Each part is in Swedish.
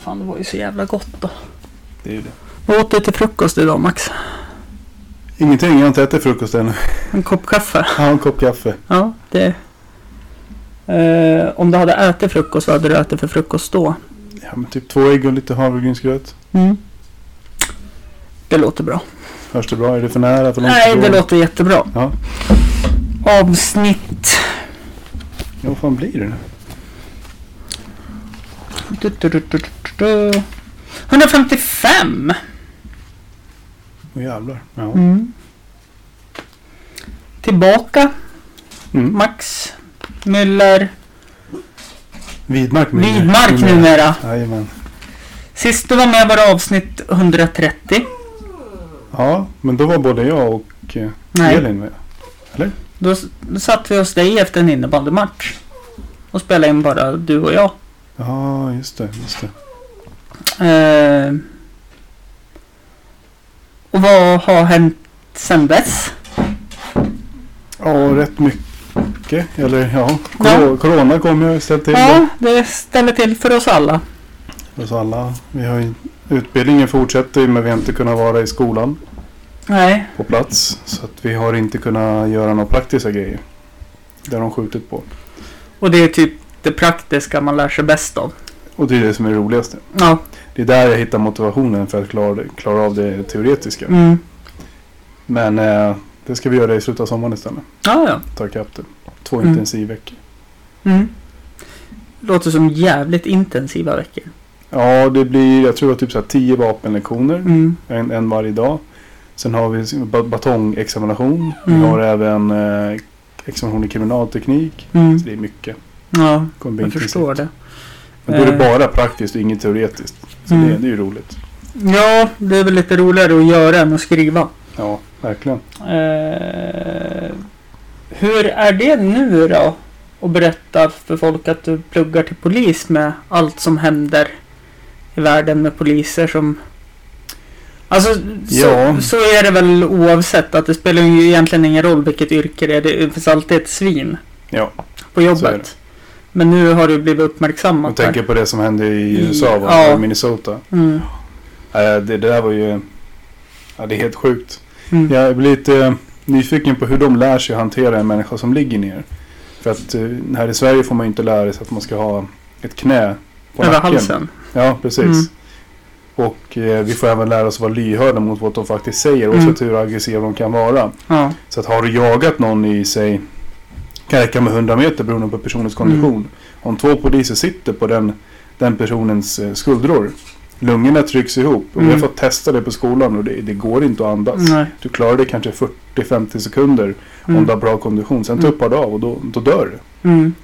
fan det var ju så jävla gott då. Det är ju det. Vad åt du till frukost idag Max? Ingenting, jag har inte ätit frukost ännu. En kopp kaffe? Jag har en kopp kaffe. Ja, det... Eh, om du hade ätit frukost, vad hade du ätit för frukost då? Ja, men typ två ägg och lite havregrynsgröt. Mm. Det låter bra. Hörs det bra? Är det för nära? För långt Nej, det ifrån? låter jättebra. Ja. Avsnitt... Ja, vad fan blir det nu? 155! Åh jävlar. Ja. Tillbaka, Mm. Max Müller Vidmark med Widmark numera. Jajamän. Sist du var med var det avsnitt 130. Ja, men då var både jag och eh, Nej. Elin med. Då, s- då satt vi hos dig efter en innebandymatch. Och spelade in bara du och jag. Ja, just det. Just det. Eh, och vad har hänt sen dess? Ja, rätt mycket. Eller ja, Ja. cor- corona kom ju ställt till Ja, det ställer till för oss alla. det. Hos alla. Vi har ju, utbildningen fortsätter ju men vi har inte kunnat vara i skolan Nej, på plats. Så att vi har inte kunnat göra några praktiska grejer. Det har de skjutit på. och det är typ det praktiska man lär sig bäst av. Och det är det som är det roligaste. Ja, Det är där jag hittar motivationen för att klara, det- klara av det teoretiska. mm. Men eh, det ska vi göra i slutet av sommaren istället. ja, ja. Ta ikapp det. Två Mm. intensivveckor. Mm. Låter som jävligt intensiva veckor. Ja, det blir, jag tror det var typ så här tio vapenlektioner. Mm. En, en varje dag. Sen har vi ba- batongexamination. Mm. Vi har även eh, examination i kriminalteknik. Mm. Så det är mycket. Ja, Det kommer bli jag intensivt. förstår det. Men då är det Eh. bara praktiskt och inget teoretiskt. Så Mm. det, det är ju roligt. Ja, det är väl lite roligare att göra än att skriva. Ja, verkligen. Eh, hur är det nu då? Att berätta för folk att du pluggar till polis med allt som händer i världen med poliser som... Alltså, Ja. så, så är det väl oavsett att det spelar ju egentligen ingen roll vilket yrke det är. Det finns alltid ett svin Ja, på Så är det. jobbet. Men nu har du blivit man uppmärksammat. där. tänker på det som hände i I- USA, va? ja. i Minnesota. Mm. Eh, det, det där var ju... Ja, det är helt sjukt. Mm. Jag blir lite eh, nyfiken på hur de lär sig att hantera en människa som ligger ner. För att eh, här i Sverige får man ju inte lära sig att man ska ha ett knä på Över nacken. halsen. Ja, precis. Mm. Och eh, vi får även lära oss att vara lyhörda mot vad de faktiskt säger. Mm. Oavsett hur aggressiva de kan vara. Ja. Så att har du jagat någon i sig kan räcka med 100 meter beroende på personens Mm. kondition. Om två poliser sitter på den, den personens eh, skuldror. Lungorna trycks ihop. Och vi har Mm. fått testa det på skolan och det, det går inte att andas. Nej. Du klarar det kanske 40-50 sekunder om Mm. du har bra kondition. Sen Mm. tuppar du av och då, då dör du. Mm.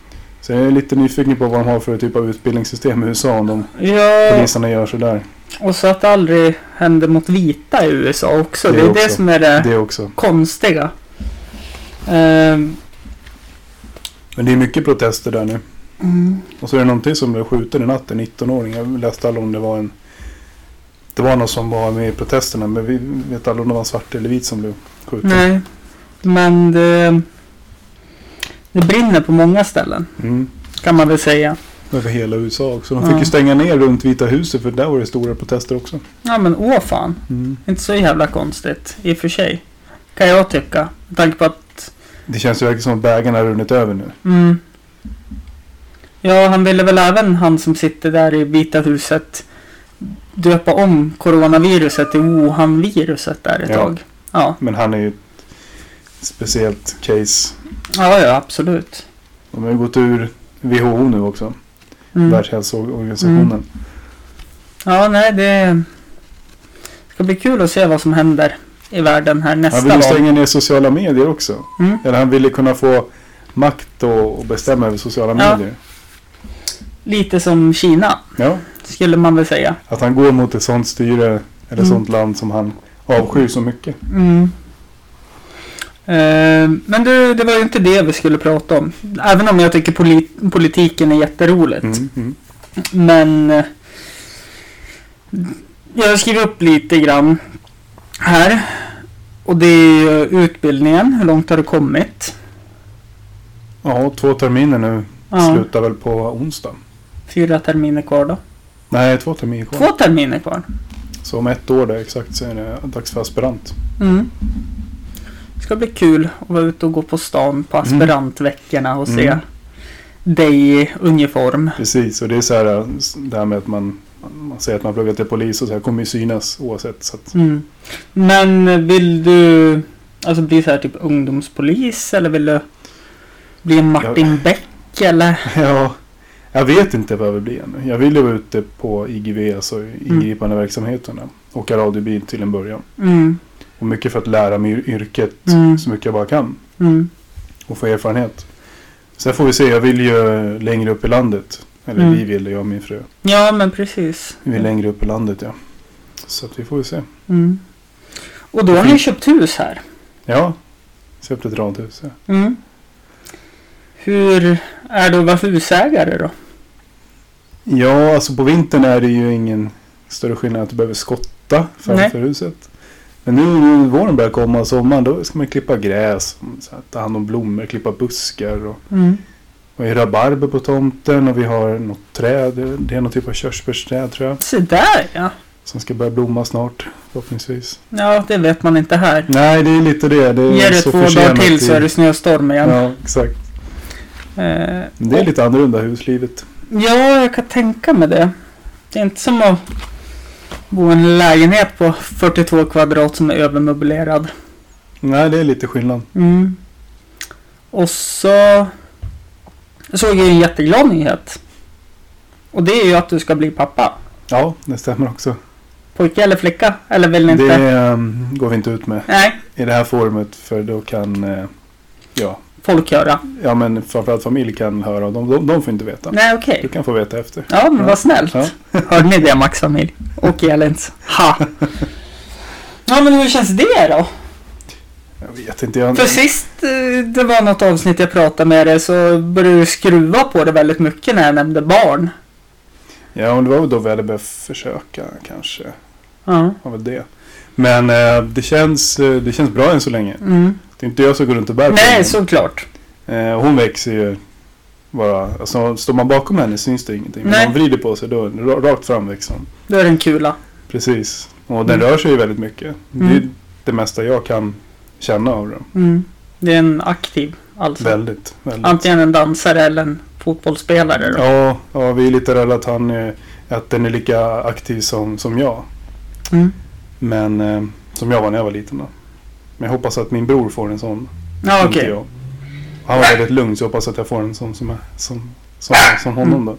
Så jag är lite nyfiken på vad de har för typ av utbildningssystem i USA om de Eh. Ja. poliserna gör sådär. Och så att det aldrig händer mot vita i USA också. Det Det, är också. det som är det, Det också. konstiga. Ehm, Men det är mycket protester där nu. mm, Och så är det någonting som blev skjuten i natt, en 19-åring. Jag läste aldrig om det var en... Det var någon som var med i protesterna, men vi vet aldrig om det var en svart eller vit som blev skjuten. nej. Men det, det brinner på många ställen Mm. kan man väl säga. Över hela USA också. De fick Ja. ju stänga ner runt Vita huset för där var det stora protester också. Ja men åh fan. Inte så jävla konstigt i och för sig. Kan jag tycka. Med tanke på att... Det känns ju verkligen som att bägaren har runnit över nu. Mm, ja han ville väl även han som sitter där i Vita huset döpa om coronaviruset till Wuhan-viruset där ett Ja. tag. Ja. Men han är ju ett speciellt case. Ja, ja, absolut. De har ju gått ur WHO nu också, Mm. Världshälsoorganisationen. Ja, nej, det ska bli kul att se vad som händer i världen här Han nästa vill ju gång. stänga ner sociala medier också. Mm. Eller han ville kunna få makt och och bestämma över sociala Ja. medier. Lite som Kina, Ja. skulle man väl säga. Att han går mot ett sånt styre eller Mm. sånt land som han avskyr så mycket. Mm. Eh, Men du, det var ju inte det vi skulle prata om. Även om jag tycker polit- politiken är jätteroligt. Mm. Men eh, jag skriver upp lite grann här. Och det är ju utbildningen. Hur långt har du kommit? Ja, två terminer nu Ja, slutar väl på onsdag. fyra terminer kvar då. Nej, två terminer kvar. Två terminer kvar. Så om ett år där exakt så är det dags för aspirant. Mm. Det ska bli kul att vara ute och gå på stan på aspirantveckorna och se Mm. dig i uniform. Precis, och det är så här det här med att man, man säger att man pluggar till polis och så här kommer ju synas oavsett. Så att, Mm. Men vill du alltså bli så här typ ungdomspolis eller vill du bli en Martin Beck eller? ja, jag vet inte vad jag vill bli ännu. Jag vill ju vara ute på IGV, alltså ingripande verksamheterna. Åka radiobil till en början. Mm. Och mycket för att lära mig yr- yrket Mm. så mycket jag bara kan. Mm. och få erfarenhet. Sen får vi se, jag vill ju längre upp i landet. Eller Mm. vi vill, jag och min fru. Ja men precis. Vi vill längre upp i landet ja. Så att vi får ju se. Mm. Och då har ni köpt hus här. Ja, köpte ett radhus. Ja. Mm. Hur är det att vara husägare då? ja, alltså på vintern är det ju ingen större skillnad att du behöver skotta framför huset. Men nu när våren börjar komma och sommaren då ska man klippa gräs, så här, ta hand om blommor, klippa buskar. Och, Mm. och är rabarber på tomten och vi har något träd. Det är någon typ av körsbärsträd tror jag. Se där ja. Som ska börja blomma snart förhoppningsvis. Ja det vet man inte här. Nej, det är lite det. det är Ger det Mm, så två dagar försenat i- till så är det snöstorm igen. Ja, exakt. Eh, Men Det är lite annorlunda huslivet. ja, jag kan tänka mig det. Det är inte som att bo i en lägenhet på 42 kvadrat som är övermöblerad. Nej, det är lite skillnad. Mm. Och så jag såg jag en jätteglad nyhet. Och det är ju att du ska bli pappa. Ja, det stämmer också. Pojke eller flicka? Eller vill ni inte? Det ehm, går vi inte ut med Nej, i det här forumet för då kan, eh, ja, folk höra. ja men framförallt familj kan höra och de, de, de får inte veta. Nej, okej. Du kan få veta efter. Ja, men vad snällt. Ja. Hörde ni det Max familj? Och Elins. Ha! Ja, men hur känns det då? Jag vet inte. Jag, För sist eh, det var något avsnitt jag pratade med dig så började du skruva på det väldigt mycket när jag nämnde barn. ja, men det var väl då vi hade börjat försöka kanske. Ja. Var väl det. Men eh, det, känns, eh, det känns bra än så länge. Mm. Det är inte jag som går runt och bär på Nej, den. såklart. Eh, hon växer ju bara, alltså står man bakom henne syns det ingenting. Men Nej. om man vrider på sig då ra- rakt fram växer hon. Då är det en kula. Precis. Och den Mm. rör sig ju väldigt mycket. Det är Mm. det mesta jag kan känna av den. Mm. Det är en aktiv alltså. Väldigt, väldigt. Antingen en dansare eller en fotbollsspelare då. Ja, ja, vi är lite rädda att, han, är- att den är lika aktiv som, som jag. Mm. Men eh, som jag var när jag var liten då. Men jag hoppas att min bror får en sån. Ja, inte Ah, okej. jag. Han var väldigt lugn så jag hoppas att jag får en sån som, är, som, som, som honom då.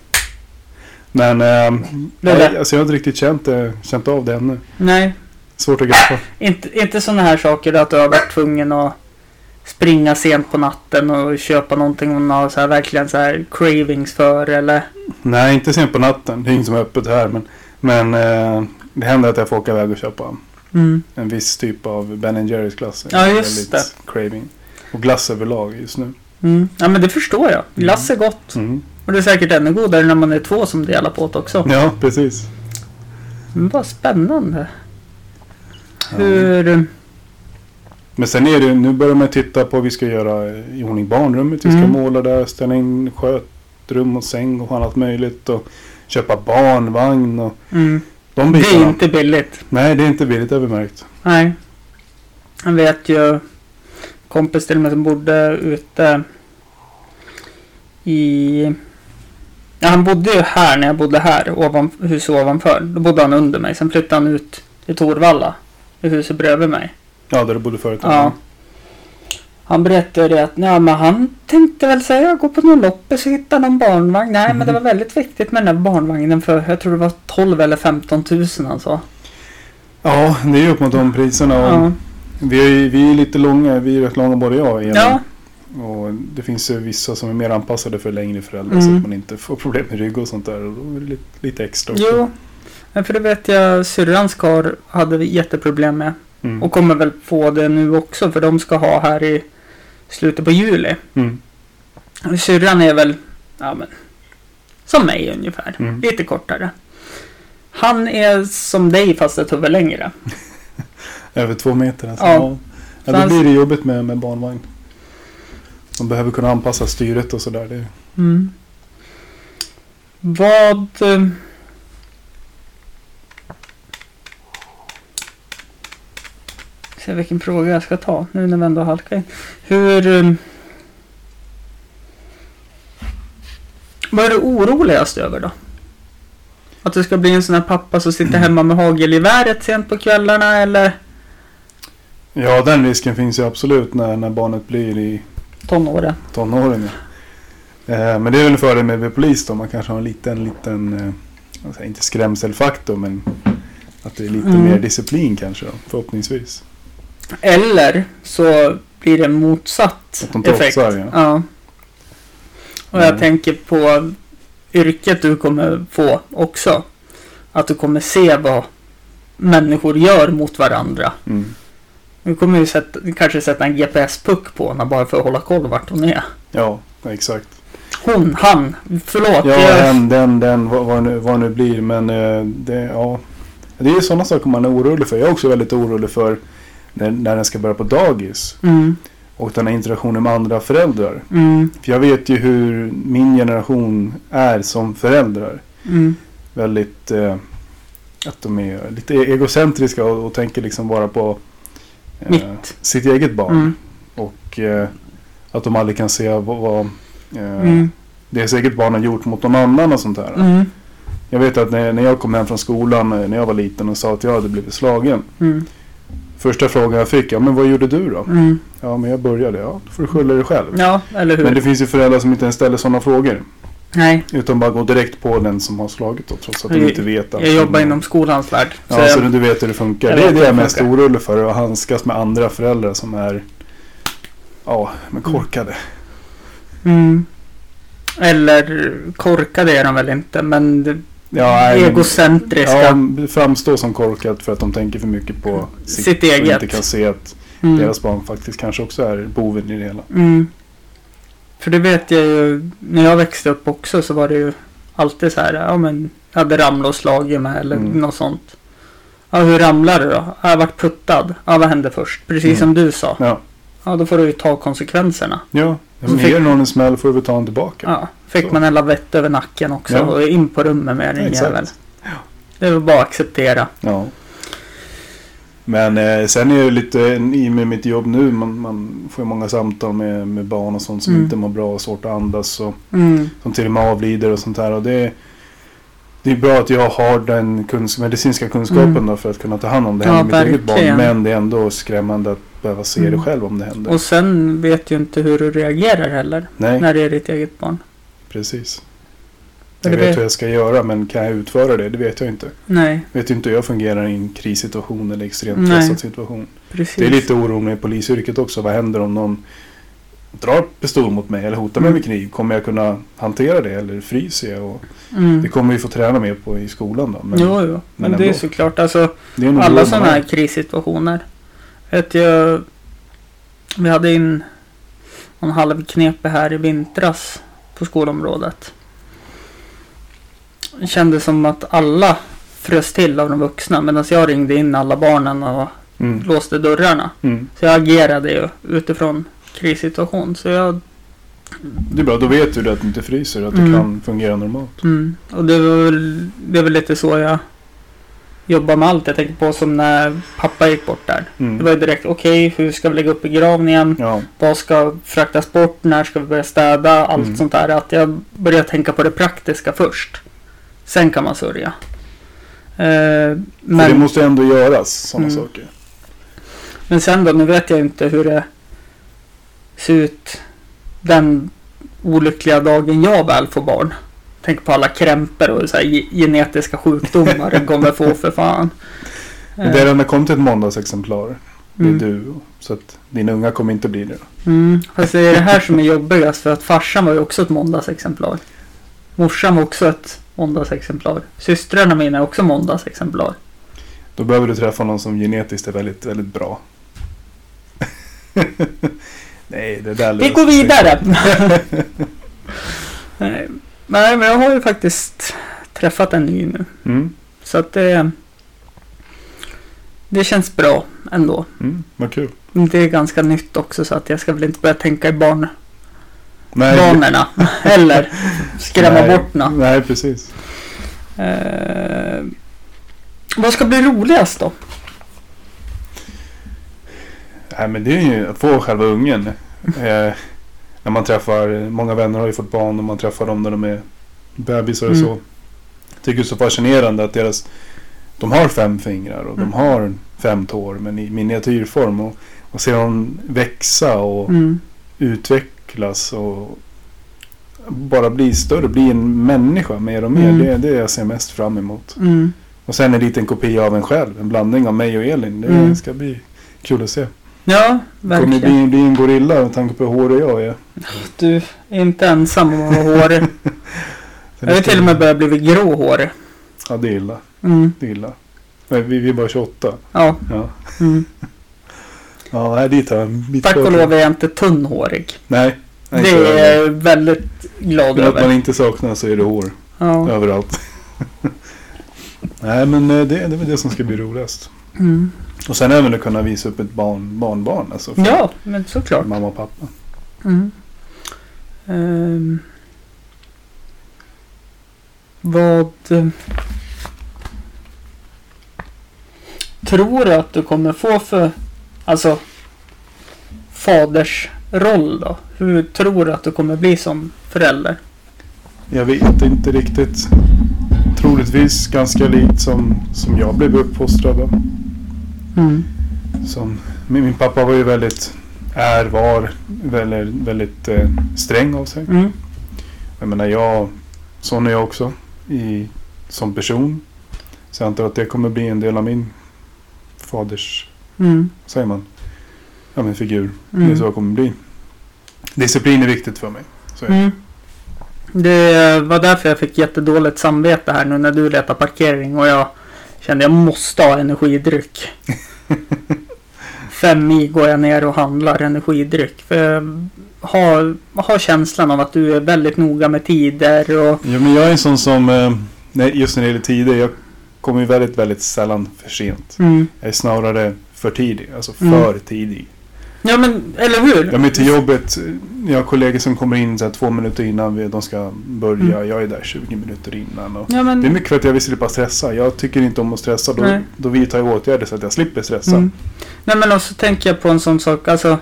Men ehm, Ah. Mm. Det där. nej, alltså jag har inte riktigt känt, det- känt av det ännu. Nej, Svårt att greppa. inte, inte sådana här saker då att du har varit tvungen att springa sent på natten och köpa någonting hon har så här, verkligen så här cravings för eller... Nej, inte sent på natten. Det är inget som är öppet här. Men, men eh, det händer att jag får åka iväg och köpa Mm. en viss typ av Ben Jerrys glass. Ja, just Väldigt Craving. Och glass överlag just nu. Mm. Ja, men det förstår jag. Glass är gott. Mm. Och det är säkert ännu godare när man är två som delar på det också. Ja, precis. Men vad spännande. Ja. Hur... Men sen är det, nu börjar man titta på, vi ska göra i ordning barnrummet, vi ska Mm. måla där, ställa in skötrum och säng och allt möjligt och köpa barnvagn och Mm. de Det är bitarna. inte billigt. Nej, det är inte billigt, det har vi märkt. Nej. Jag vet ju kompis till mig som bodde ute i... Ja, han bodde ju här när jag bodde här, ovan, huset ovanför. Då bodde han under mig. Sen flyttade han ut till Torvalla, i huset bredvid mig. Ja, där du bodde förut. Ja. Han berättade det att nej, men han tänkte väl säga jag går på någon loppis och hittar någon barnvagn. Nej men det var väldigt viktigt med den där barnvagnen för jag tror det var 12 eller 15 000 han sa. Ja, det är ju upp mot de priserna. Och Ja. vi, är, ju- vi är lite långa, vi är rätt långa både jag och Elin. Ja. Och det finns ju vissa som är mer anpassade för längre föräldrar så Mm. att man inte får problem med rygg och sånt där. Och då är det lite, lite extra också. Jo. Men för det vet jag syrrans kar hade vi jätteproblem med. Mm. Och kommer väl få det nu också för de ska ha här i slutet på juli. Mm. Syrran är väl, ja men, som mig ungefär. Mm. Lite kortare. Han är som dig fast ett huvud längre. Över två meter alltså. Ja. Ja. Ja, då Fast- blir det jobbigt med, med barnvagn. Man behöver kunna anpassa styret och sådär. Det, Mm. Vad... eh, Se vilken fråga jag ska ta nu när vi ändå halkar in. Hur... um, Vad är du oroligast över då? Att du ska bli en sån här pappa som sitter hemma med hagelgeväret sent på kvällarna eller Ja, den risken finns ju absolut när, när barnet blir i tonåren? tonåren. ja. Eh, men det är väl en fördel med att bli polis då. Man kanske har en liten, liten eh, vad säger jag, inte skrämselfaktor men att det är lite Mm. mer disciplin kanske då, förhoppningsvis. Eller så blir det en motsatt Att de trotsar, effekt. ja. Och jag Mm. tänker på yrket du kommer få också. Att du kommer se vad människor gör mot varandra. Mm. Du kommer ju sätta, kanske sätta en GPS-puck på henne bara för att hålla koll vart hon är. Ja, exakt. Hon, han, förlåt. Ja, jag- den, den, den, vad, vad, nu, vad nu blir. Men eh, det, ja. det är ju sådana saker man är orolig för. Jag är också väldigt orolig för när, när den ska börja på dagis. Mm, Och den här interaktionen med andra föräldrar. mm, För jag vet ju hur min generation är som föräldrar. mm, Väldigt... Eh, att de är lite e-, egocentriska och, och tänker liksom bara på eh, Mitt. sitt eget barn. mm, Och eh, att de aldrig kan se vad, vad eh, mm, deras eget barn har gjort mot någon annan och sånt där. mm, Jag vet att när, när jag kom hem från skolan eh, när jag var liten och sa att jag hade blivit slagen. mm, Första frågan jag fick, ja men vad gjorde du då? mm. Ja men jag började, ja då får du skylla dig själv. Ja, eller hur? Men det finns ju föräldrar som inte ens ställer sådana frågor. Nej, Utan bara går direkt på den som har slagit då, trots att de Jag- inte vet. jag allting. jobbar inom skolans värld. Så Ja, så jag, du vet hur det funkar. Jag Det vet är det hur jag är det mest funkar. orolig för. Att handskas med andra föräldrar som är, ja, men korkade. mm. Eller korkade är de väl inte, men det- Ja, nej, men- egocentriska. Ja, framstår som korkat för att de tänker för mycket på sitt, Sitt Och eget. inte kan se att mm. deras barn faktiskt kanske också är boven i det hela. Mm. För det vet jag ju, när jag växte upp också så var det ju alltid så här, ja men jag hade ramlat och slagit mig eller Mm. något sånt. Ja, hur ramlade du då? Ja, jag vart puttad. Ja, vad hände först? Precis Mm. som du sa. Ja. Ja, då får du ju ta konsekvenserna. Ja, men fick- ger någon en smäll får du väl ta en tillbaka. Ja, fick Så. man en lavett över nacken också Ja. och in på rummet med den Exakt. jäveln. Det är väl bara att acceptera. Ja. Men eh, sen är det lite i med mitt jobb nu. Man, man får ju många samtal med, med barn och sånt som Mm. inte mår bra och svårt att andas. Och, Mm. som till och med avlider och sånt här. Och det, det är bra att jag har den kunsk medicinska kunskapen Mm. då för att kunna ta hand om det här Ja, med mitt eget verkligen. barn. Men det är ändå skrämmande att behöva se Mm. det själv om det händer. Och sen vet du inte hur du reagerar heller Nej, när det är ditt eget barn. precis. Men Jag det vet blir- hur jag ska göra men kan jag utföra det? Det vet jag inte. Nej, vet ju inte hur jag fungerar i en krissituation eller extremt Nej. pressad situation. precis. Det är lite oro med polisyrket också. Vad händer om någon drar pistol mot mig eller hotar mig Mm. med kniv? Kommer jag kunna hantera det eller fryser jag? Och Mm. det kommer vi få träna mer på i skolan då. Men jo, jo. Men, men det är ändå. såklart. Alltså, det är en oro alla man sådana har. här krissituationer. Vet jag, vi hade in en halvknepe här i vintras på skolområdet. Det kändes som att alla frös till av de vuxna medan jag ringde in alla barnen och Mm. låste dörrarna. Mm. Så jag agerade ju utifrån krissituation. Så jag Det är bra, då vet du det att du inte fryser. Att Mm. du kan fungera normalt. Mm. Och det var, väl, det var väl lite så jag jobbar med allt. Jag tänker på som när pappa gick bort där. Mm. Det var ju direkt, okej, hur ska vi lägga upp begravningen? Ja, Vad ska fraktas bort? När ska vi börja städa? Allt Mm. sånt där. Att jag börjar tänka på det praktiska först. Sen kan man sörja. Eh, men... det men, måste ändå göras sådana Mm. saker. men sen då, nu vet jag inte hur det ser ut den olyckliga dagen jag väl får barn. Tänk på alla krämpor och så här ge- genetiska sjukdomar den kommer få för fan. Men det har redan kommit ett måndagsexemplar. Det är Mm. du. Så att dina unga kommer inte bli det. Mm. Fast det är det här som är jobbigast för att farsan var ju också ett måndagsexemplar. Morsan var också ett måndagsexemplar. Systrarna mina är också måndagsexemplar. Då behöver du träffa någon som genetiskt är väldigt, väldigt bra. Nej, det där Vi löser går sig. vidare! Nej, Nej, men jag har ju faktiskt träffat en ny nu. Mm, Så att det, det känns bra ändå. mm, vad kul. Det är ganska nytt också så att jag ska väl inte börja tänka i barn, Nej, banorna. Eller skrämma nej, bort något. Nej, precis. Eh, vad ska bli roligast då? Nej, men det är ju att få själva ungen. eh, när man träffar, många vänner har ju fått barn och man träffar dem när de är bebisar och Mm. så. Jag tycker det är så fascinerande att deras, de har fem fingrar och Mm. de har fem tår men i miniatyrform. Och, och ser dem växa och Mm. utvecklas och bara bli större, bli en människa mer och mer. Mm. Det är det jag ser mest fram emot. Mm. Och sen en liten kopia av en själv, en blandning av mig och Elin. Det Mm. ska bli kul att se. Ja, Kommer verkligen. bli, bli en gorilla med tanke på hur hårig jag är. Du är inte ensam om att ha hår. Så det Jag har ska- till och med börjat bli gråhårig. Ja, det är illa. Mm. Det är illa. Men vi, vi är bara 28. Ja. Ja, Mm. ja här dit har jag en bit Tack kvar och till. lov är jag inte tunnhårig. Nej. nej, Det inte jag är jag väldigt glad Men att man över. inte saknar så är det hår Ja. överallt. nej, men eh, det, det är väl det som ska bli roligast. Mm. Och sen även att kunna visa upp ett barn, barnbarn. Alltså för ja, men såklart. mamma och pappa. Mm. Ehm. Vad eh, tror du att du kommer få för alltså fadersroll då? Hur tror du att du kommer bli som förälder? Jag vet inte riktigt. Troligtvis ganska likt som, som jag blev uppfostrad av. Mm. Som, min, min pappa var ju väldigt, är, var väldigt, väldigt eh, sträng av sig. Mm. Jag menar, jag, sån är jag också i, som person. Så jag antar att det kommer bli en del av min faders, Mm. vad säger man, ja men figur. Det är så Mm. jag kommer bli. Disciplin är viktigt för mig. Så är det. Mm. Det var därför jag fick jättedåligt samvete här nu när du letar parkering och jag kände jag måste ha energidryck. Fem i går jag ner och handlar energidryck. För jag har, har känslan av att du är väldigt noga med tider och... Ja, men jag är en sån som, eh, nej, just när det gäller tider, jag kommer ju väldigt, väldigt sällan för sent. Mm. Jag är snarare för tidig, alltså Mm. för tidig. Ja men, eller hur? Ja, men till jobbet, jag har kollegor som kommer in så här, två minuter innan vi- de ska börja. Jag är där 20 minuter innan. Och Mm. Ja, men, det är mycket för att jag vill slippa stressa. Jag tycker inte om att stressa. Då, Nej. då vidtar jag åtgärder så att jag slipper stressa. Mm. Nej men och så tänker jag på en sån sak, alltså.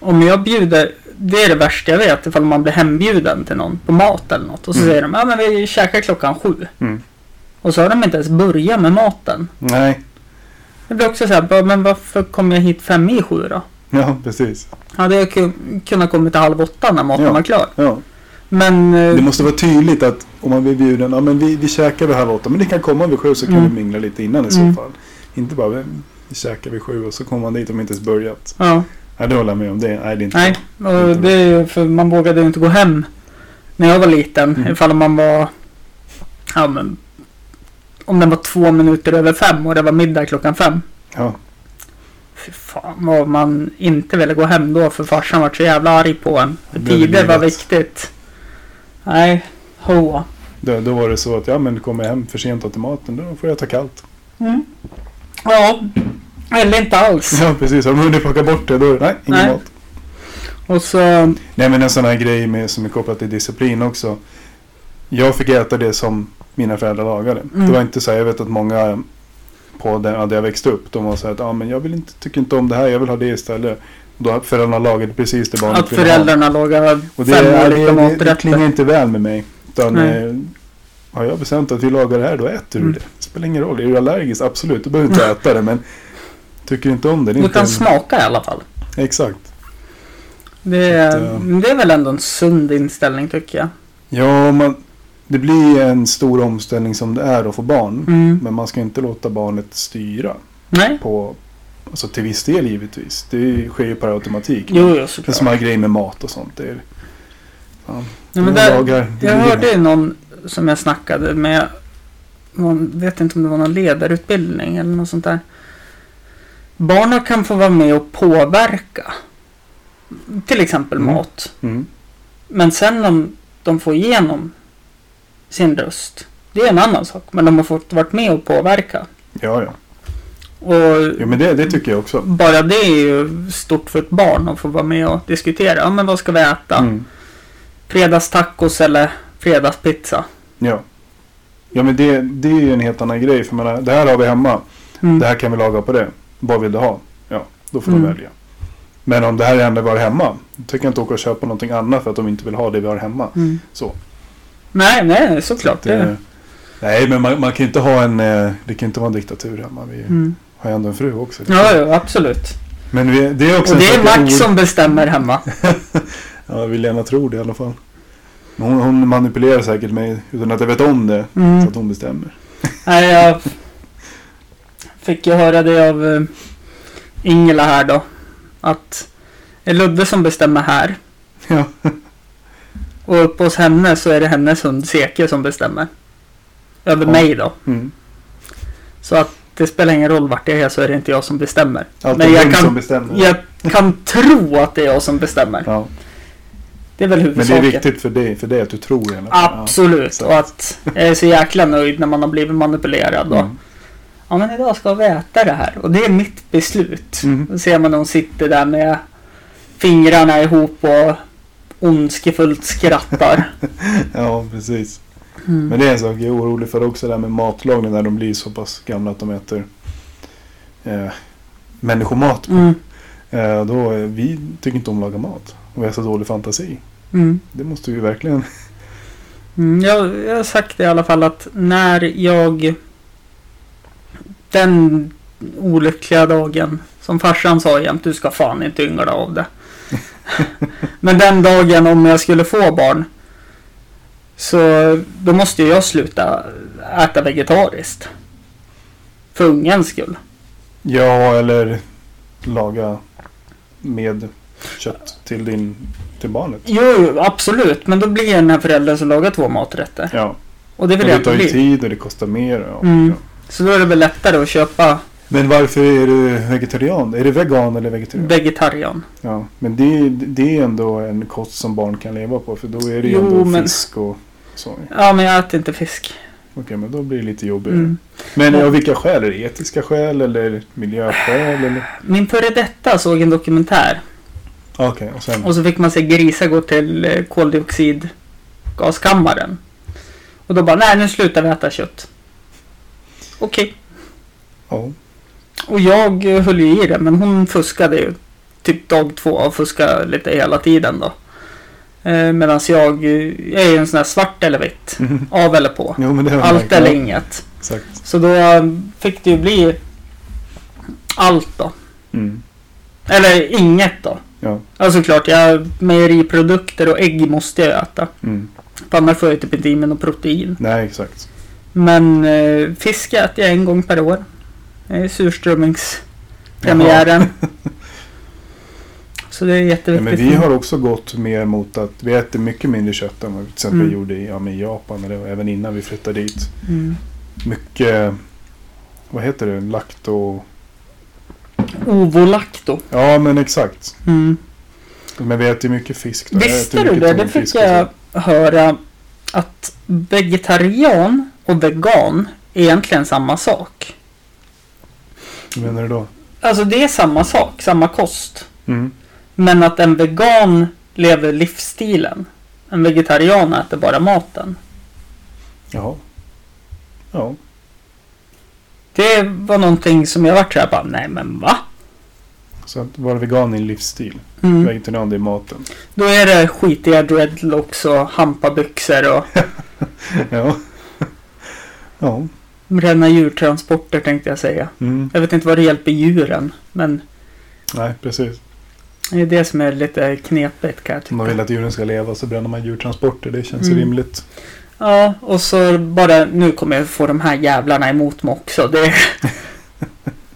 Om jag bjuder, det är det värsta jag vet, ifall man blir hembjuden till någon på mat eller något. Och så Mm. säger de, ja men vi käkar klockan sju. Mm. Och så har de inte ens börjat med maten. Nej, Det blir också så här, bara, men varför kom jag hit fem i sju då? ja precis. Hade jag ku- kunnat komma till halv åtta när maten Ja. var klar. Ja. Men, eh, Det måste vara tydligt att om man blir bjuden, ja men vi, vi käkar vid halv åtta, men det kan komma vid sju så kan Mm. vi mingla lite innan i Mm. så fall. Inte bara vi, vi käkar vid sju och så kommer man dit och inte ens börjat. ja, Nej, det håller jag med om. Det, nej, det är inte nej. bra. Och det är ju för man vågade ju inte gå hem när jag var liten. Mm. Ifall man var, ja men, om den var två minuter över fem och det var middag klockan fem. Ja. Fy fan vad man inte ville gå hem då för farsan var så jävla arg på en. För Det blev tider var livet. viktigt. Nej, hoa. Då, då var det så att ja, men du kommer jag hem för sent till maten, då får jag ta kallt. Mm. Ja, eller inte alls. Ja, precis. Har de hunnit plocka bort det, då nej, ingen Nej. mat. Och så... Nej, men en sån här grej med, som är kopplad till disciplin också. Jag fick äta det som mina föräldrar lagade. Mm. Det var inte så här, jag vet att många på den, ja, där jag växte upp, de var så här att ah, men jag vill inte, tycker inte om det här, jag vill ha det istället. Då har föräldrarna lagat precis det barnet Att ville ha. föräldrarna lagar Och det, fem ja, olika det, det, det klingar maträtter. inte väl med mig. Utan, Nej. eh, har jag bestämt att vi lagar det här, då äter du Mm. det. Det spelar ingen roll. Är du allergisk, absolut, du behöver inte äta det. Men tycker inte om det. det är Du inte kan en- smaka i alla fall. Exakt. Det Så att, är, eh, det är väl ändå en sund inställning tycker jag. Ja, man, det blir en stor omställning som det är att få barn. Mm. Men man ska inte låta barnet styra. Nej, på, alltså Till viss del givetvis. Det sker ju per automatik. jo, jo Det är såklart. som här grejer med mat och sånt. Det är, fan, Ja, men det är där, lagar, det jag blir hörde ju någon som jag snackade med. Någon, vet inte om det var någon ledarutbildning eller något sånt där. Barnen kan få vara med och påverka. Till exempel Mm. mat. Mm. Men sen om de får igenom sin röst, det är en annan sak. Men de har fått varit med och påverka. Ja, ja. Och Jo, men det, det tycker jag också. bara det är ju stort för ett barn att få vara med och diskutera. Ja, men vad ska vi äta? Mm. Fredagstacos eller fredagspizza? Ja. Ja men det, det är ju en helt annan grej. För jag menar, det här har vi hemma. Mm. Det här kan vi laga på det. Vad vill du ha? Ja, Då får de Mm. välja. Men om det här är det enda vi har hemma. Då tänker jag inte åka och köpa någonting annat för att de inte vill ha det vi har hemma. Mm. Så. Nej, nej, såklart. Det- Det, eh, nej, men man, man kan inte ha en... eh, Det kan inte vara en diktatur hemma. Vi mm. har ju ändå en fru också. Ja, ja, absolut. Men vi, det är också... Och en det är sak jag Max oroar- som bestämmer hemma. Ja, vill gärna tro det i alla fall. Men hon, hon manipulerar säkert mig utan att jag vet om det. Mm. Så att hon bestämmer. Nej, jag fick ju höra det av eh, Ingela här då. Att det är Ludde som bestämmer här. Ja. Och uppe hos henne så är det hennes hund Seke som bestämmer. Över Ja. mig då. Mm. Så att det spelar ingen roll vart jag är så är det inte jag som bestämmer. Allt Men är jag hon kan- som bestämmer. Jag kan tro att det är jag som bestämmer. Ja. Det är väl Men det är huvudsaken. viktigt för dig, för dig att du tror i alla fall. Absolut. Ja. Och att jag är så jäkla nöjd när man har blivit manipulerad. Och, Mm. Ja men idag ska vi äta det här och det är mitt beslut. Mm. Då ser man hon sitter där med fingrarna ihop och ondskefullt skrattar. Ja, precis. Mm. Men det är en sak jag är orolig för också, det här med matlagning när de blir så pass gamla att de äter eh, människomat. Mm. Eh, då, eh, vi tycker inte om att laga mat. Och vi har så dålig fantasi. Mm. Det måste vi verkligen... Mm. Jag, jag har sagt i alla fall att när jag den olyckliga dagen som farsan sa jämt, du ska fan inte yngla av det. men den dagen om jag skulle få barn så då måste ju jag sluta äta vegetariskt. För ungens skull. Ja, eller laga med kött till, din, till barnet. Jo, jo, absolut. Men då blir jag den här föräldern som lagar två maträtter. Ja, Och det och vill jag det inte tar ju bli. tid och det kostar mer. Ja. Mm. Ja. Så då är det väl lättare att köpa Men varför är du vegetarian? Är du vegan eller vegetarian? vegetarian. Ja, men det, det är ändå en kost som barn kan leva på för då är det ju Jo, ändå men- fisk och så. Okej, Ja, men jag äter inte fisk. men då blir det lite jobbigare. Mm. Men av vilka skäl? Är det etiska skäl eller miljöskäl? Eller... Min före detta såg en dokumentär Okej, och sen... och så fick man se grisar gå till eh, koldioxidgaskammaren. Och då bara, nej nu slutar vi äta kött. Okej. Ja, Och jag eh, höll ju i det, men hon fuskade ju. Typ dag två och fuskade lite hela tiden då. Eh, Medan jag, eh, jag är ju en sån här svart eller vitt. Mhm. Av eller på. jo, men det har jag Allt märkt. eller Ja, inget. Exakt. Så då eh, fick det ju bli allt då. Mm. Eller inget då. Ja. Ja, såklart. Jag, mejeriprodukter och ägg måste jag äta. Mm. För annars får jag typ inte i mig något protein. Nej, exakt. Men eh, fisk äter jag en gång per år. Det är surströmmingspremiären. Så det är Ja, jätteviktigt. men vi har också gått mer mot att vi äter mycket mindre kött än vad vi till exempel Mm. gjorde i ja, men i Japan eller även innan vi flyttade dit. mm. Mycket, vad heter det, lakt och... Ovolacto. Ja, men exakt. Mm. Men vi äter ju mycket fisk. då. Jag Visste äter du mycket det? Det tonfisk fick och så. jag höra att vegetarian och vegan är egentligen samma sak. Hur menar du då? Alltså det är samma sak, samma kost. Mm. Men att en vegan lever livsstilen. En vegetarian äter bara maten. Jaha. Ja. Det var någonting som jag vart såhär bara, nej men va? Så att vara vegan är en livsstil. Mm. Vegetarian, det är maten. Då är det skitiga dreadlocks och hampabyxor och Mm. ja. Ja. bränna djurtransporter tänkte jag säga. Mm. Jag vet inte vad det hjälper djuren, men Nej, precis. det är det som är lite knepigt kan jag Om man tycka. vill att djuren ska leva så bränner man djurtransporter. Det känns Mm. rimligt. Ja, och så bara nu kommer jag få de här jävlarna emot mig också. Det...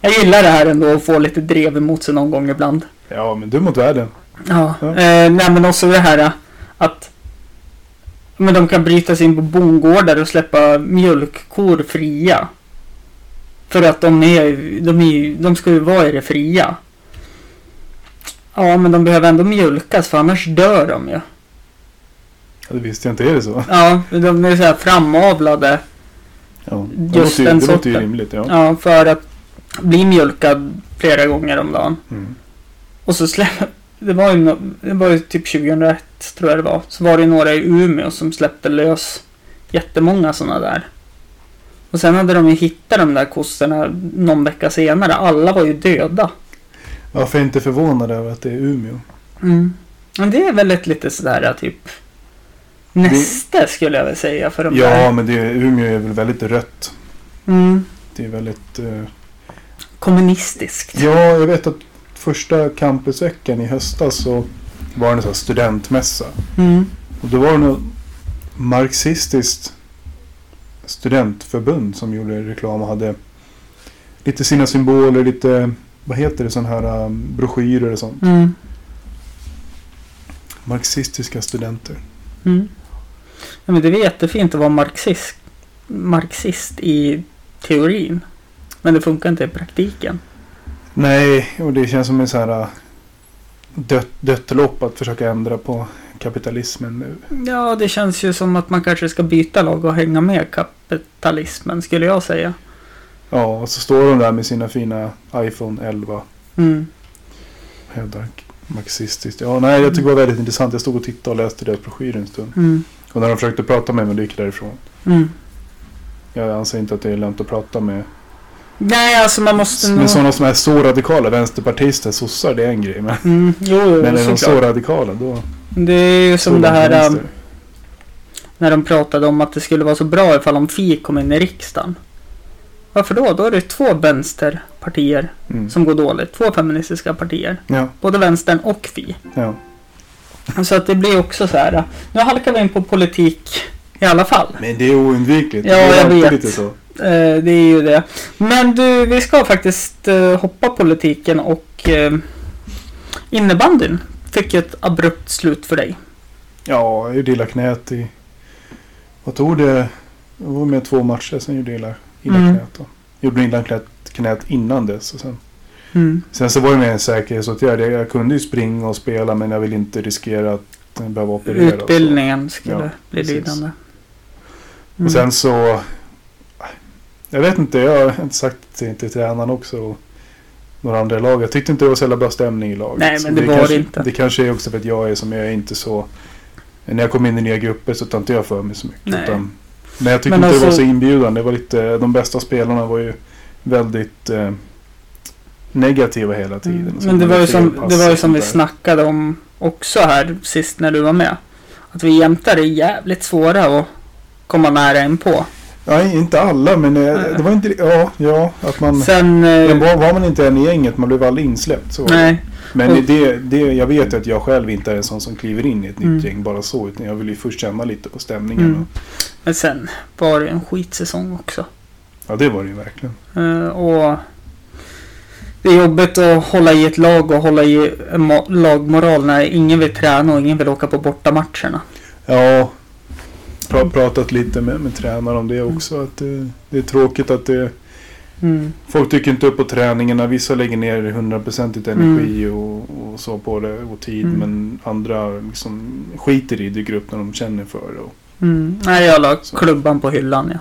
jag gillar det här ändå, att få lite drev emot sig någon gång ibland. Ja, men du mot världen. Ja, Ja. Eh, nej men också det här eh, att men de kan bryta sig in på bondgårdar och släppa mjölkkor fria. För att de, är, ju- de, är, ju- de ska ju vara i det fria. Ja, men de behöver ändå mjölkas för annars dör de ju. Ja, det visste jag inte. Är det så? Ja, de är så här framavlade. Ja. Just det låter ju, den det låter ju sorten. rimligt. Ja. Ja, för att bli mjölkad flera gånger om dagen. Mm. Och så släppte... Det var, ju, no- det var ju typ 2001 tror jag det var. Så var det ju några i Umeå som släppte lös jättemånga sådana där. Och sen hade de ju hittat de där kossorna någon vecka senare. Alla var ju döda. Varför är jag inte förvånad över att det är Umeå? Mm. Men det är väl ett lite sådär typ näste skulle jag väl säga för de Ja, där. men det är, Umeå är väl väldigt rött. Mm. Det är väldigt... eh, Kommunistiskt. Ja, jag vet att första campusveckan i höstas så var det en sån här studentmässa. Mm. Och då var det något marxistiskt studentförbund som gjorde reklam och hade lite sina symboler, lite, vad heter det, sån här um, broschyrer och sånt. Mm. Marxistiska studenter. Mm. Ja, men det är jättefint att vara marxist, marxist i teorin. Men det funkar inte i praktiken. Nej, och det känns som en sån här uh, dött, dött lopp att försöka ändra på kapitalismen nu. Ja, det känns ju som att man kanske ska byta lag och hänga med kapitalismen skulle jag säga. Ja, och så står de där med sina fina iPhone 11 Mm. hävdar marxistiskt. Ja, nej, jag tycker det var väldigt intressant. Jag stod och tittade och läste deras broschyr en stund. Mm. Och när de försökte prata med mig, då gick jag därifrån. Mm. Jag anser inte att det är lönt att prata med, Nej, alltså man måste nog... med sådana som är så radikala. Vänsterpartister, sossar, det är en grej. Men, Mm, jo, jo, men är de såklart. så radikala då... Det är ju så som det här vänster. ähm, när de pratade om att det skulle vara så bra ifall om Fi kom in i riksdagen. Varför då? Då är det två vänsterpartier Mm. som går dåligt. Två feministiska partier. Ja, Både vänstern och Fi. ja. Så att det blir också så här. äh, Nu halkar vi in på politik i alla fall. Men det är oundvikligt. Ja, det är jag alltid vet. Lite så. Eh, det är ju det. Men du, vi ska faktiskt eh, hoppa politiken och eh, innebandyn fick ju ett abrupt slut för dig. Ja, jag gjorde illa knät i... Vad tog det? Jag var med två matcher, sen gjorde jag illa, illa Mm. knät. Då. Gjorde illa knät, knät innan dess. Och sen Mm. Sen så var det mer en säkerhetsåtgärd. Jag- Jag kunde ju springa och spela men jag ville inte riskera att eh, behöva operera. och så. Utbildningen skulle Ja, bli precis. lidande. Och Mm. sen så... Jag vet inte, jag har inte sagt till, till tränaren också och några andra i laget. Jag tyckte inte det var så jävla bra stämning i laget. Nej, men Så det var det kanske, inte. Det kanske är också för att jag är som jag är inte så... När jag kom in i nya grupper så tar inte jag för mig så mycket. Nej. Utan, men jag tyckte Men inte det var alltså- så inbjudande. Det var lite, de bästa spelarna var ju väldigt eh, negativa hela tiden. Mm, Och så Men det var var, ju fel som, pass det var ju och som vi sånt där. snackade om också här sist när du var med. Att vi jämtar är jävligt svåra att komma nära in på. Nej, inte alla, men eh, Nej. det var inte... Ja, ja att man... Sen... eh, Mm. Men var, var man inte en i gänget, man blev aldrig insläppt. Så. var det. nej. Men det, det, jag vet ju att jag själv inte är en sån som kliver in i ett Mm. nytt gäng bara så. Utan jag vill ju först känna lite på stämningen. Mm. Men sen var det ju en skitsäsong också. Ja, det var det ju verkligen. Eh, och det är jobbigt att hålla i ett lag och hålla i en mo- lagmoral när ingen vill träna och ingen vill åka på bortamatcherna. Ja, pra, pratat lite med, med tränaren om det också. Att det, det är tråkigt att det, Mm. folk dyker inte upp på träningarna. Vissa lägger ner hundraprocentigt energi och, och så på det och tid. Mm. Men andra liksom skiter i det, dyker upp när de känner för det. Och, Mm. Nej, jag la Så. klubban på hyllan. Ja.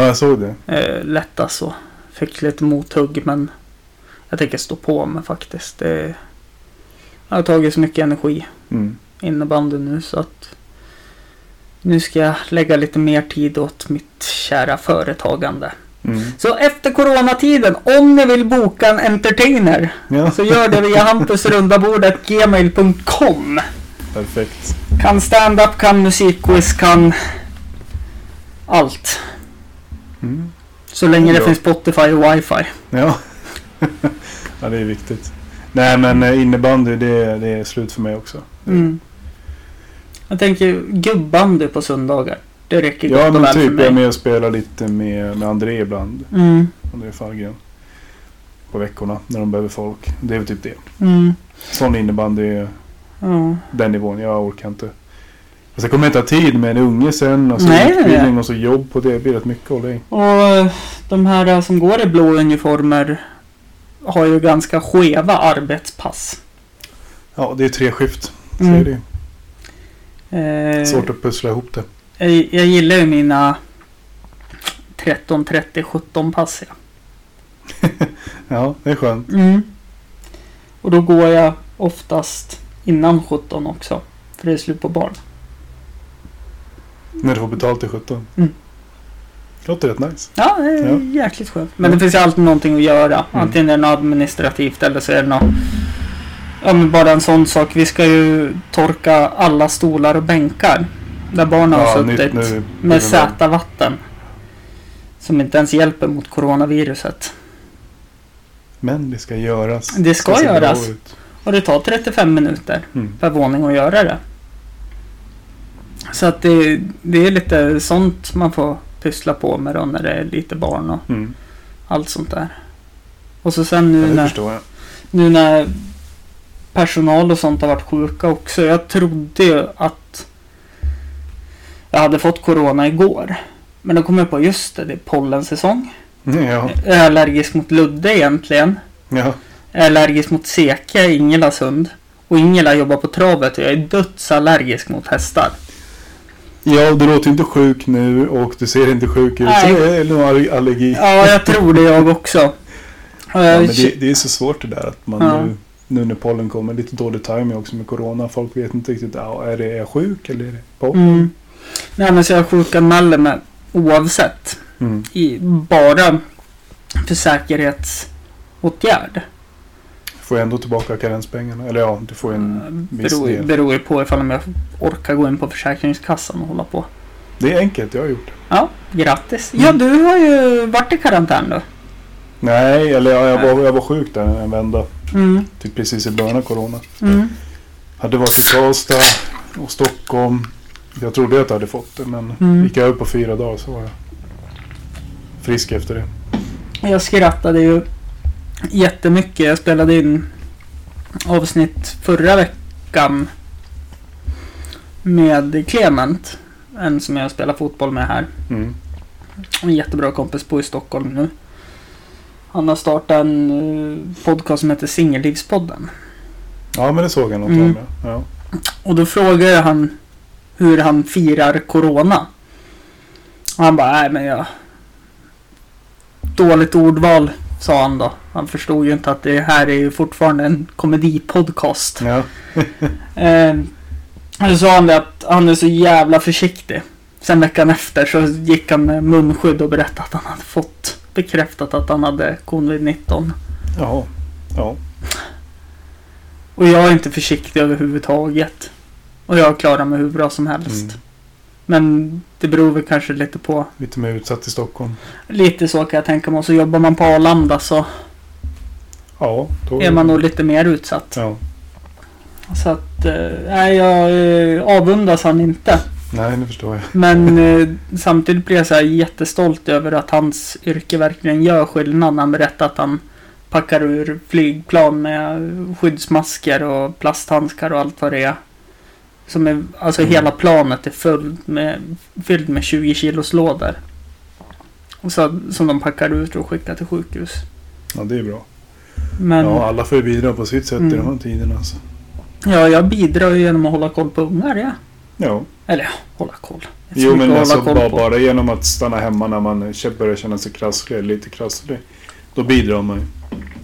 ja, jag såg det. eh, lätt alltså. Fick lite mothugg men jag tänker stå på mig faktiskt. Det, jag har tagit så mycket energi Mm. innebandy nu så att nu ska jag lägga lite mer tid åt mitt kära företagande. Mm. Så efter coronatiden, om ni vill boka en entertainer Ja, så gör det via hampusrundabordet.gmail.com perfekt. Kan stand-up, kan musikquiz, kan allt. Mm. Så länge det Ja. finns Spotify och wifi. Ja. ja, det är viktigt. Nej, men eh, innebandy det, det är slut för mig också. Mm. Jag tänker gubbandy på söndagar. Det räcker Ja, gott och men väl för typ jag mig. är med och spelar lite med, med André ibland. Mm, André Fallgren. På veckorna när de behöver folk. Det är väl typ det. mm, Sån innebandy är ja. den nivån. Jag orkar inte. Och sen kommer jag inte ha tid med en unge sen. Och så Nej, nej, utbildning nej. och så jobb på det. Det blir rätt mycket att hålla i. Och eh, de här eh, som går i blå uniformer har ju ganska skeva arbetspass. Ja, det är tre skift. Så Mm. är det. ju. Eh, Svårt att pussla ihop det. jag, jag gillar ju mina 13, 30, 17 pass. Ja. Ja, det är skönt. Mm. Och då går jag oftast innan 17 också. För det är slut på barn. När du får betalt till 17? Mm. Låter rätt nice. Ja, det är jäkligt skönt. Men det finns ju alltid någonting att göra. Antingen är det något administrativt eller så är det något... Ja, men bara en sån sak. Vi ska ju torka alla stolar och bänkar. Där barnen har suttit. nu. Med Z-vatten. Som inte ens hjälper mot coronaviruset. Men det ska göras. Det ska se bra göras. ut. Och det tar 35 minuter Mm. per våning att göra det. Så att det, det är lite sånt man får pyssla på med då när det är lite barn och Mm. allt sånt där. Och så sen Ja, nu det när, förstår jag. nu när personal och sånt har varit sjuka också. Jag trodde ju att jag hade fått corona igår. Men då kom jag på just det, det är pollensäsong. Ja. Jag är allergisk mot ludde egentligen. ja. Jag är allergisk mot seke i Ingelas hund. Och Ingela jobbar på travet och jag är dödsallergisk mot hästar. Ja, du låter inte sjuk nu och du ser inte sjuk ut. Nej. Så det är nog aller- allergi. Ja, Ja, jag tror det jag också. Och jag, men det, det är så svårt det där att man Ja. nu, nu när pollen kommer, lite dålig timing också med corona. Folk vet inte riktigt, ja, är det är jag sjuk eller är det pollen? mm. Nej, men så jag sjukanmäler mig oavsett. Mm. I, bara för säkerhetsåtgärd. Får jag ändå tillbaka karenspengarna? Eller ja, du får ju Mm. en viss Eh, beror, ju- del. beror ju på ifall jag orkar gå in på Försäkringskassan och hålla på. Det är enkelt, jag har gjort det. Ja, grattis. Mm. Ja, du har ju varit i karantän då. Nej, eller ja, jag, var, jag var sjuk där en vända. Mm. Typ precis i början av corona. Mm. Hade varit i Karlstad och Stockholm. Jag trodde att jag hade fått det men Mm. gick jag upp på fyra dagar så var jag frisk efter det. Jag skrattade ju jättemycket. Jag spelade in avsnitt förra veckan med Clement. En som jag spelar fotboll med här. Mm. En jättebra kompis, bor i Stockholm nu. Han har startat en eh, podcast som heter Singellivspodden. Ja men det såg jag något Mm. om ja. ja. Och då frågade jag han hur han firar corona. Och han bara, nej men jag... Dåligt ordval, sa han då. Han förstod ju inte att det här är ju fortfarande en komedipodcast. ja. Eh, och så sa han det att han är så jävla försiktig. Sen veckan efter så gick han med munskydd och berättade att han hade fått bekräftat att han hade covid-19. Jaha. Ja. Och jag är inte försiktig överhuvudtaget. Och jag klarar mig hur bra som helst. Mm. Men det beror väl kanske lite på. Lite mer utsatt i Stockholm. Lite så kan jag tänka mig. Och så jobbar man på Arlanda så Ja. Då är man nog lite mer utsatt. Ja. Så att, eh, nej jag eh, avundas han inte. Nej nu förstår jag. Men eh, samtidigt blir jag så här jättestolt över att hans yrke verkligen gör skillnad. Han berättar att han packar ur flygplan med skyddsmasker och plasthandskar och allt vad det är. Som är, alltså Mm. hela planet är fullt med, fylld med 20 kilos lådor. Och så, som de packar ut och skickar till sjukhus. Ja det är bra. Men Ja ja. alla får ju bidra på sitt sätt i Mm. de här tiderna. Alltså. jag bidrar ju genom att hålla koll på ungar. Ja. Ja. Hålla koll. Det är så Jo mycket men att alltså hålla koll bara, på. bara genom att stanna hemma när man k- börjar känna sig krasslig, lite krasslig. Då bidrar man ju.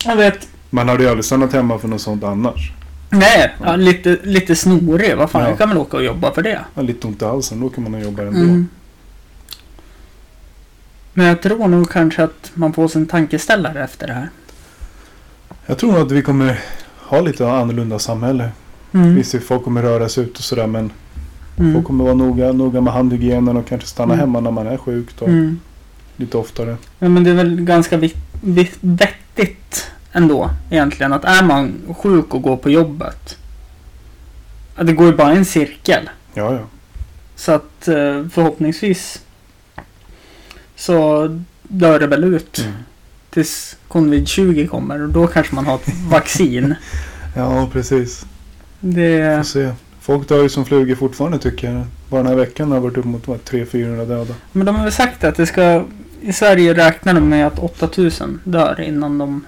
Jag vet. Man hade ju aldrig stannat hemma för något sånt annars. Nej, ja, lite, lite snorig. Vad fan, Ja. jag kan väl åka och jobba för det. Man har lite ont i halsen, då kan man nog jobba ändå. Mm. Men jag tror nog kanske att man får sin tankeställare efter det här. Jag tror nog att vi kommer ha lite annorlunda samhälle. Visst, folk kommer röra sig ut och sådär men Mm. folk kommer vara noga, noga med handhygienen och kanske stanna Mm. hemma när man är sjuk då, Mm. lite oftare. Ja, men det är väl ganska vi- vi- vettigt ändå egentligen att är man sjuk och går på jobbet. ja, Det går ju bara i en cirkel. Ja, ja. Så att eh, förhoppningsvis så dör det väl ut Mm. tills covid-20 kommer och då kanske man har ett vaccin. Ja, precis. Får Det, se. Folk dör ju som flugor fortfarande tycker jag. Bara den här veckan har det varit uppemot vad, 300-400 döda. Men de har väl sagt att det ska... I Sverige räknar de med att 8000 dör innan de,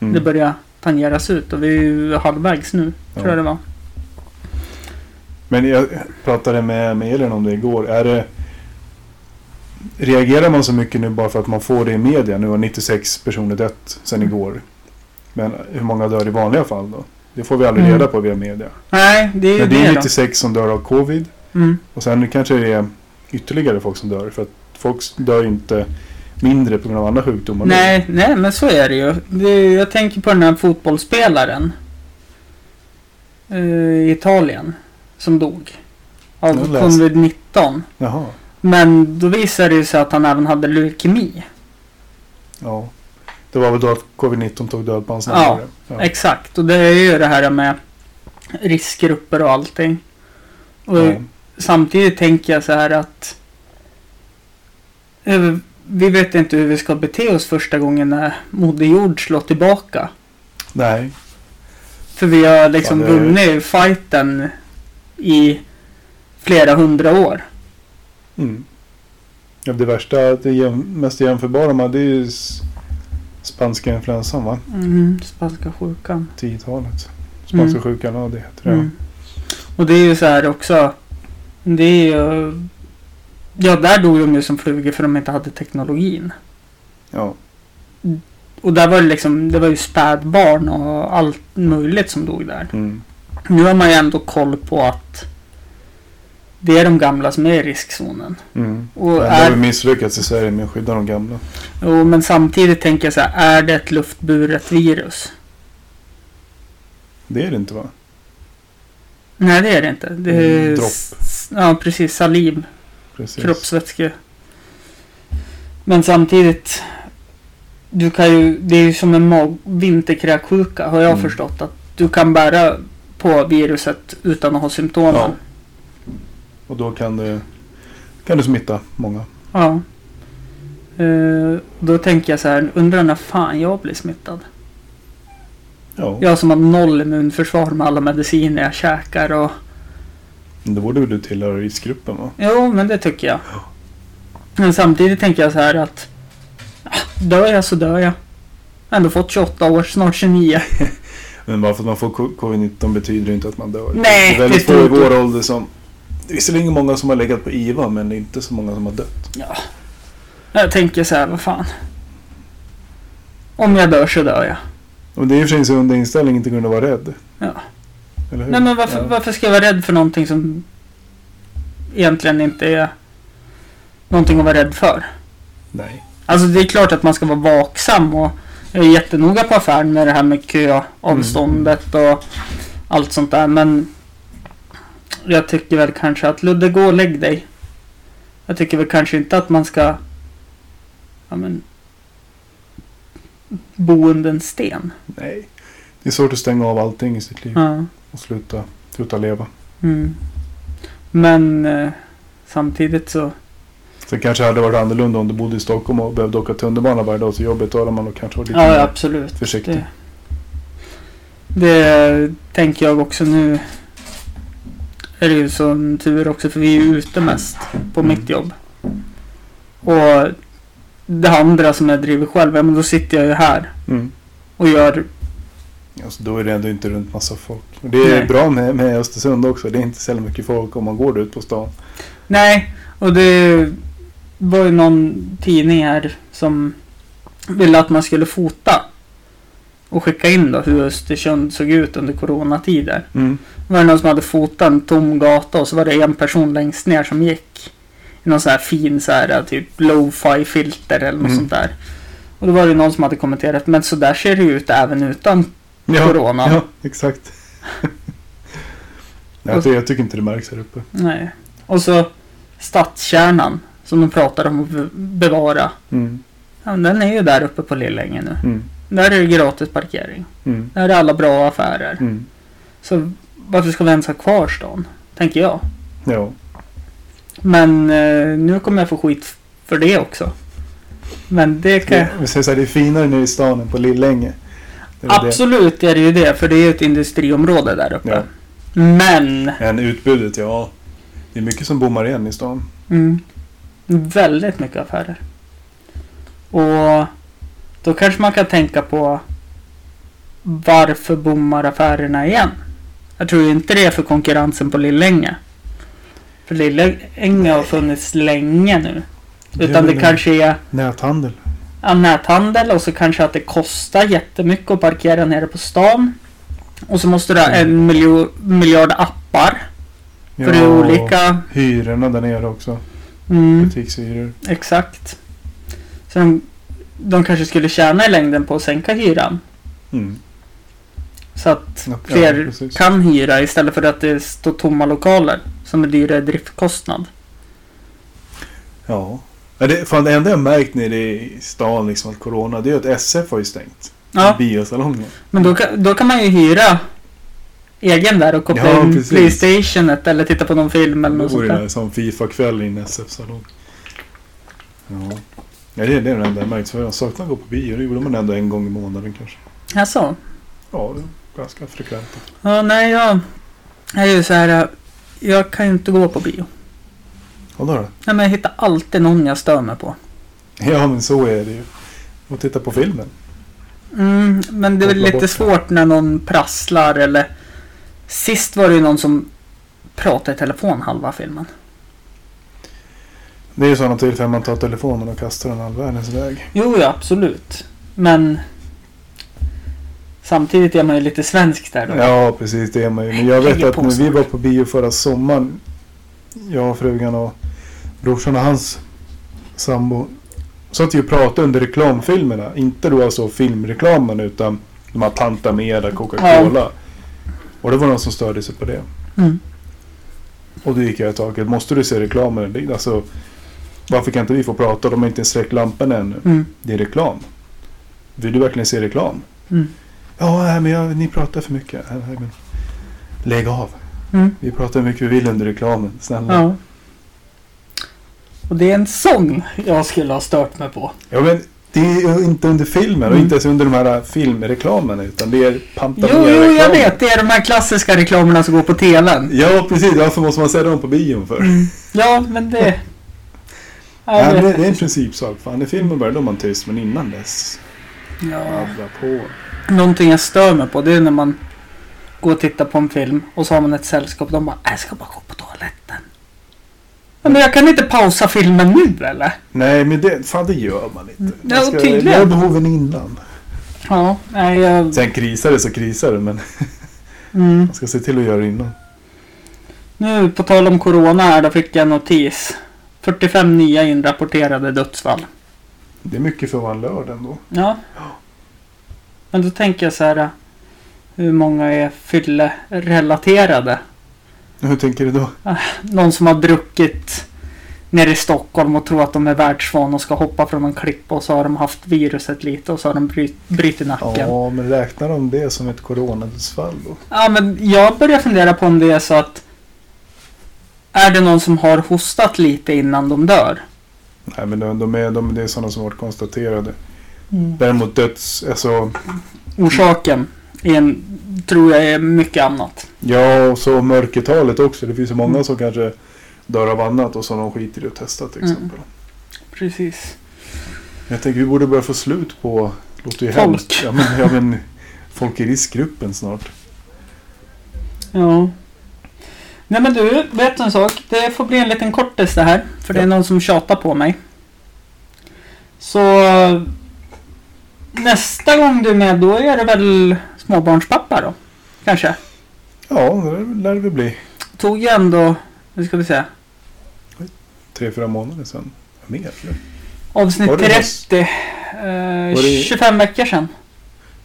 Mm. det börjar tangeras ut. Och vi är ju halvvägs nu, Ja. tror jag det var. Men jag pratade med, med Elin om det igår. Är det, reagerar man så mycket nu bara för att man får det i media? Nu har 96 personer dött sedan Mm. igår. Men hur många dör i vanliga fall då? Det får vi aldrig Mm. reda på via media. Nej, det är ju Men det, det är då. 96 som dör av covid. Mm. Och sen kanske det är ytterligare folk som dör för att Folk dör ju inte mindre på grund av andra sjukdomar. Nej, nej, men så är det ju. Det- Jag tänker på den här fotbollsspelaren. eh, I Italien. Som dog. Av Jag läste. covid-19. Jaha. Men då visade det ju sig att han även hade leukemi. Ja. Det var väl då att covid-19 tog död på hans Ja. närmare. Ja. Exakt, och det är ju det här med riskgrupper och allting. Och Ja. samtidigt tänker jag så här att eh, vi vet inte hur vi ska bete oss första gången när Moder Jord slår tillbaka. Nej. För vi har liksom Ja, det- vunnit fighten i flera hundra år. Mm. Ja, det värsta, det jäm, mest jämförbara med det är ju s- spanska influensan va? Mm, spanska sjukan. 10-talet. Spanska Mm. sjukan, ja det heter det. Mm. Och det är ju så här också. Det är ju... Ja, där dog de ju som flugor för de inte hade teknologin. Ja. Och där var det liksom, det var ju spädbarn och allt möjligt som dog där. Mm. Nu har man ju ändå koll på att det är de gamla som är i riskzonen. Mm. Och Men det har är, vi misslyckats i Sverige med att skydda de gamla. jo, men samtidigt tänker jag så här, är det ett luftburet virus? Det är det inte va? Nej, det är det inte. Det är Mm, dropp. s- Ja, precis. Saliv, Precis. kroppsvätske. Men samtidigt, du kan ju, det är ju som en mag- vinterkräksjuka har jag Mm. förstått. Att du kan bära på viruset utan att ha symptomen. Ja. Och då kan du, kan du smitta många. Ja. Eh, då tänker jag så här, undrar när fan jag blir smittad. Ja. Jag som har noll immunförsvar med alla mediciner jag käkar och... Men Då borde väl du tillhöra riskgruppen va? Jo, men det tycker jag. Men samtidigt tänker jag så här att... ah, Dör jag så dör jag. Ändå fått 28 år, snart 29. Men bara för att man får co- covid-19 betyder det inte att man dör. Nej, det är det väldigt få tror i jag vår ålder som... Det är visserligen många som har legat på IVA men det är inte så många som har dött. Jag tänker så här, vad fan. Om jag dör så dör jag. Och det är i och för sig en sund inställning inte kunna vara rädd. Ja. Eller hur? Nej men varför, Ja. varför ska jag vara rädd för någonting som egentligen inte är någonting att vara rädd för? Nej. Alltså det är klart att man ska vara vaksam och jag är jättenoga på affären med det här med köavståndet och allt sånt där. Men jag tycker väl kanske att Ludde gå och lägg dig. Jag tycker väl kanske inte att man ska ja, men, bo under en sten. Nej. Det är svårt att stänga av allting i sitt liv Ja. och sluta, sluta leva. Mm. Men eh, samtidigt så Sen kanske det hade varit annorlunda om du bodde i Stockholm och behövde åka tunnelbana varje dag till jobbet. Då hade man nog kanske varit lite Ja, ja, mer absolut. försiktig. Det, det tänker jag också nu. Är det ju som tur också för vi är ju ute mest på Mm. mitt jobb. Och det andra som jag driver själv, ja, men då sitter jag ju här Mm. och gör... Alltså, då är det ändå inte runt massa folk. Och det är Nej. bra med, med Östersund också. Det är inte så mycket folk om man går ut på stan. Nej, och det var ju någon tidning här som ville att man skulle fota. Och skicka in då hur Östersund såg ut under coronatider. Mm. Det var någon som hade fotat en tom gata och så var det en person längst ner som gick. I någon sån här fin så här, typ lo-fi filter eller något Mm. sånt där. Och då var det någon som hade kommenterat men så där ser det ju ut även utan corona. Ja, exakt. jag, ty- jag tycker inte det märks här uppe. Nej. Och så stadskärnan som de pratar om att be- bevara. Mm, Ja, men den är ju där uppe på Lillängen nu. mm, Där är det gratis parkering. mm, Där är alla bra affärer. mm. Så varför ska vi ens ha kvar stan? Tänker jag. Ja, Men eh, nu kommer jag få skit för det också. Men det kan jag... vi säger så här, det är finare nere i stan än på Lillänge. Det är väl Absolut är det ju det, för det är ju ett industriområde där uppe. Ja. Men... Det. Men utbudet, ja. Det är mycket som bommar igen i stan. Mm, väldigt mycket affärer. Och då kanske man kan tänka på varför bommar affärerna igen? Jag tror inte det är för konkurrensen på Lillänge. För Lillänge har funnits länge nu. är Utan väl det kanske är Näthandel. Ja, näthandel och så kanske att det kostar jättemycket att parkera nere på stan. Och så måste Mm. du ha en miljo, miljard appar för det är olika. Hyrorna där nere också. Mm, butikshyror. exakt. Så de, de kanske skulle tjäna i längden på att sänka hyran. Mm. Så att Ja, Fler precis. kan hyra istället för att det står tomma lokaler som är dyrare driftkostnad. Ja. Ja, Det, fan, det enda jag märkt nere i stan liksom, att corona, det är att SF har ju stängt. Ja, Biosalongen. men då kan, då kan man ju hyra egen där och koppla Ja, in precis. Playstationet eller titta på någon film eller Det något sånt vore ju där. en sån Fifa-kväll i en SF-salong. Ja. ja, det är det är det enda jag märkt. För jag saknar att gå på bio. Det gjorde man ändå en gång i månaden kanske. Jaså? Ja, det är ganska frekvent. Ja, nej, jag jag är ju så här. Jag kan ju inte gå på bio. Ja, då då. Nej, men jag hittar alltid någon jag stör mig på. Ja, men så är det ju. Och titta på filmen. Mm, men det är väl Koppla lite bort det. svårt när någon prasslar eller... Sist var det ju någon som pratade i telefon halva filmen. Det är ju sådana tillfällen man tar telefonen och kastar den all världens väg. Jo, ja, absolut. Men samtidigt är man ju lite svensk där då. Ja, precis. Det är man ju. Men jag vet Heja att på när vi snart. var på bio förra sommaren. Jag och frugan och brorsan och hans sambo. Satt ju och pratade under reklamfilmerna. Inte då alltså filmreklamen utan de här Tanta Meda, Coca-Cola. Och det var någon som störde sig på det. Mm. Och då gick jag i taket. Måste du se reklamen? Det- Alltså, varför kan inte vi få prata? De har inte ens släckt lampan ännu. Mm. Det är reklam. Vill du verkligen se reklam? Mm. Ja, nej, men jag, ni pratar för mycket. Nej, nej, men Lägg av. Mm. Vi pratar hur mycket vi vill under reklamen. Snälla. Ja. Ja. Och det är en sång jag skulle ha stört mig på. men det är ju inte under filmen och Mm. inte ens under de här äh, filmreklamerna. Utan det är Jo, pantamera jo, jag vet. Det är de här klassiska reklamerna som går på TVn. Ja, precis. Varför måste man säga dem på bion för? Ja, men det... Mm. Ja, Nej, jag men det, vet det är en inte. principsak. Fan, när filmen börjar då är man tyst, men innan dess. ja. Jävla på. Någonting jag stör mig på det är när man går och tittar på en film och så har man ett sällskap och de bara "Äh, jag ska bara gå på toaletten. Men jag kan inte pausa filmen nu eller? Nej, men det, fan, det gör man inte. Mm. Ja, Man ska tydligen. göra behoven innan. Ja, nej jag... Sen krisar det så krisar det, men Mm. man ska se till att göra det innan. Nu på tal om Corona här, då fick jag en notis. 45 nya inrapporterade dödsfall. Det är mycket för att vara en lördag ändå. Ja. Men då tänker jag så här. Hur många är fyllerelaterade? Hur tänker du då? Någon som har druckit nere i Stockholm och tror att de är världsvan och ska hoppa från en klippa och så har de haft viruset lite och så har de bryt, brutit nacken. Ja. Ja, men räknar de det som ett coronadödsfall då? men jag börjar fundera på om det är så att är det någon som har hostat lite innan de dör? Nej, men de, de är, de, det är sådana som varit konstaterade. Mm. Däremot döds... Alltså, Orsaken är en, tror jag är mycket annat. ja, och så mörkertalet också. Det finns ju många som kanske dör av annat och som de skiter i att testa till Mm. exempel. Precis. Jag tänker vi borde börja få slut på... Låter ju Folk. hemskt. Ja, men, ja, men folk i riskgruppen snart. Ja. Nej men du, vet du en sak? Det får bli en liten kortis det här. För det är Ja. någon som tjatar på mig. Så nästa gång du är med då är det väl småbarnspappa då? Kanske? Ja, det lär det väl bli. Tog ju ändå, nu ska vi se, Tre, fyra månader sedan. Mer? eller? Var avsnitt det 30. Eh, Var det- 25 veckor sedan.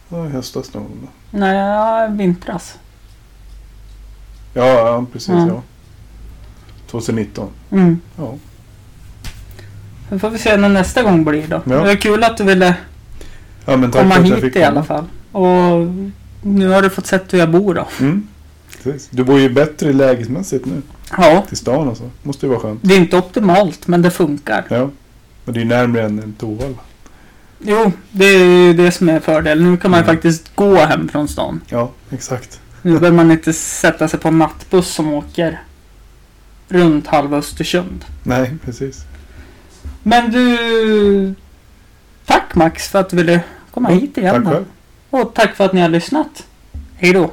Ja, i höstas någon gång. då. Nej, ja, vintras. Ja, ja precis. Mm. Ja. 2019. Mm. Ja. Då får vi se när nästa gång blir då. Ja. Det var kul att du ville ja men tack komma för att jag hit fick i alla komma. fall. Och nu har du fått sett hur jag bor då. Mm. Precis. Du bor ju bättre lägesmässigt nu. Ja, Till stan och så. Måste ju vara skönt. det är inte optimalt men det funkar. Ja. Men det är ju närmare än, än Tovalla. Jo, det är ju det som är fördelen. Nu kan man ju Mm. faktiskt gå hem från stan. Ja, exakt. Nu behöver man inte sätta sig på en nattbuss som åker runt halva Östersund. Nej, precis. Men du... Tack Max för att du ville komma hit igen. Tack då. själv. Och tack för att ni har lyssnat. Hej då.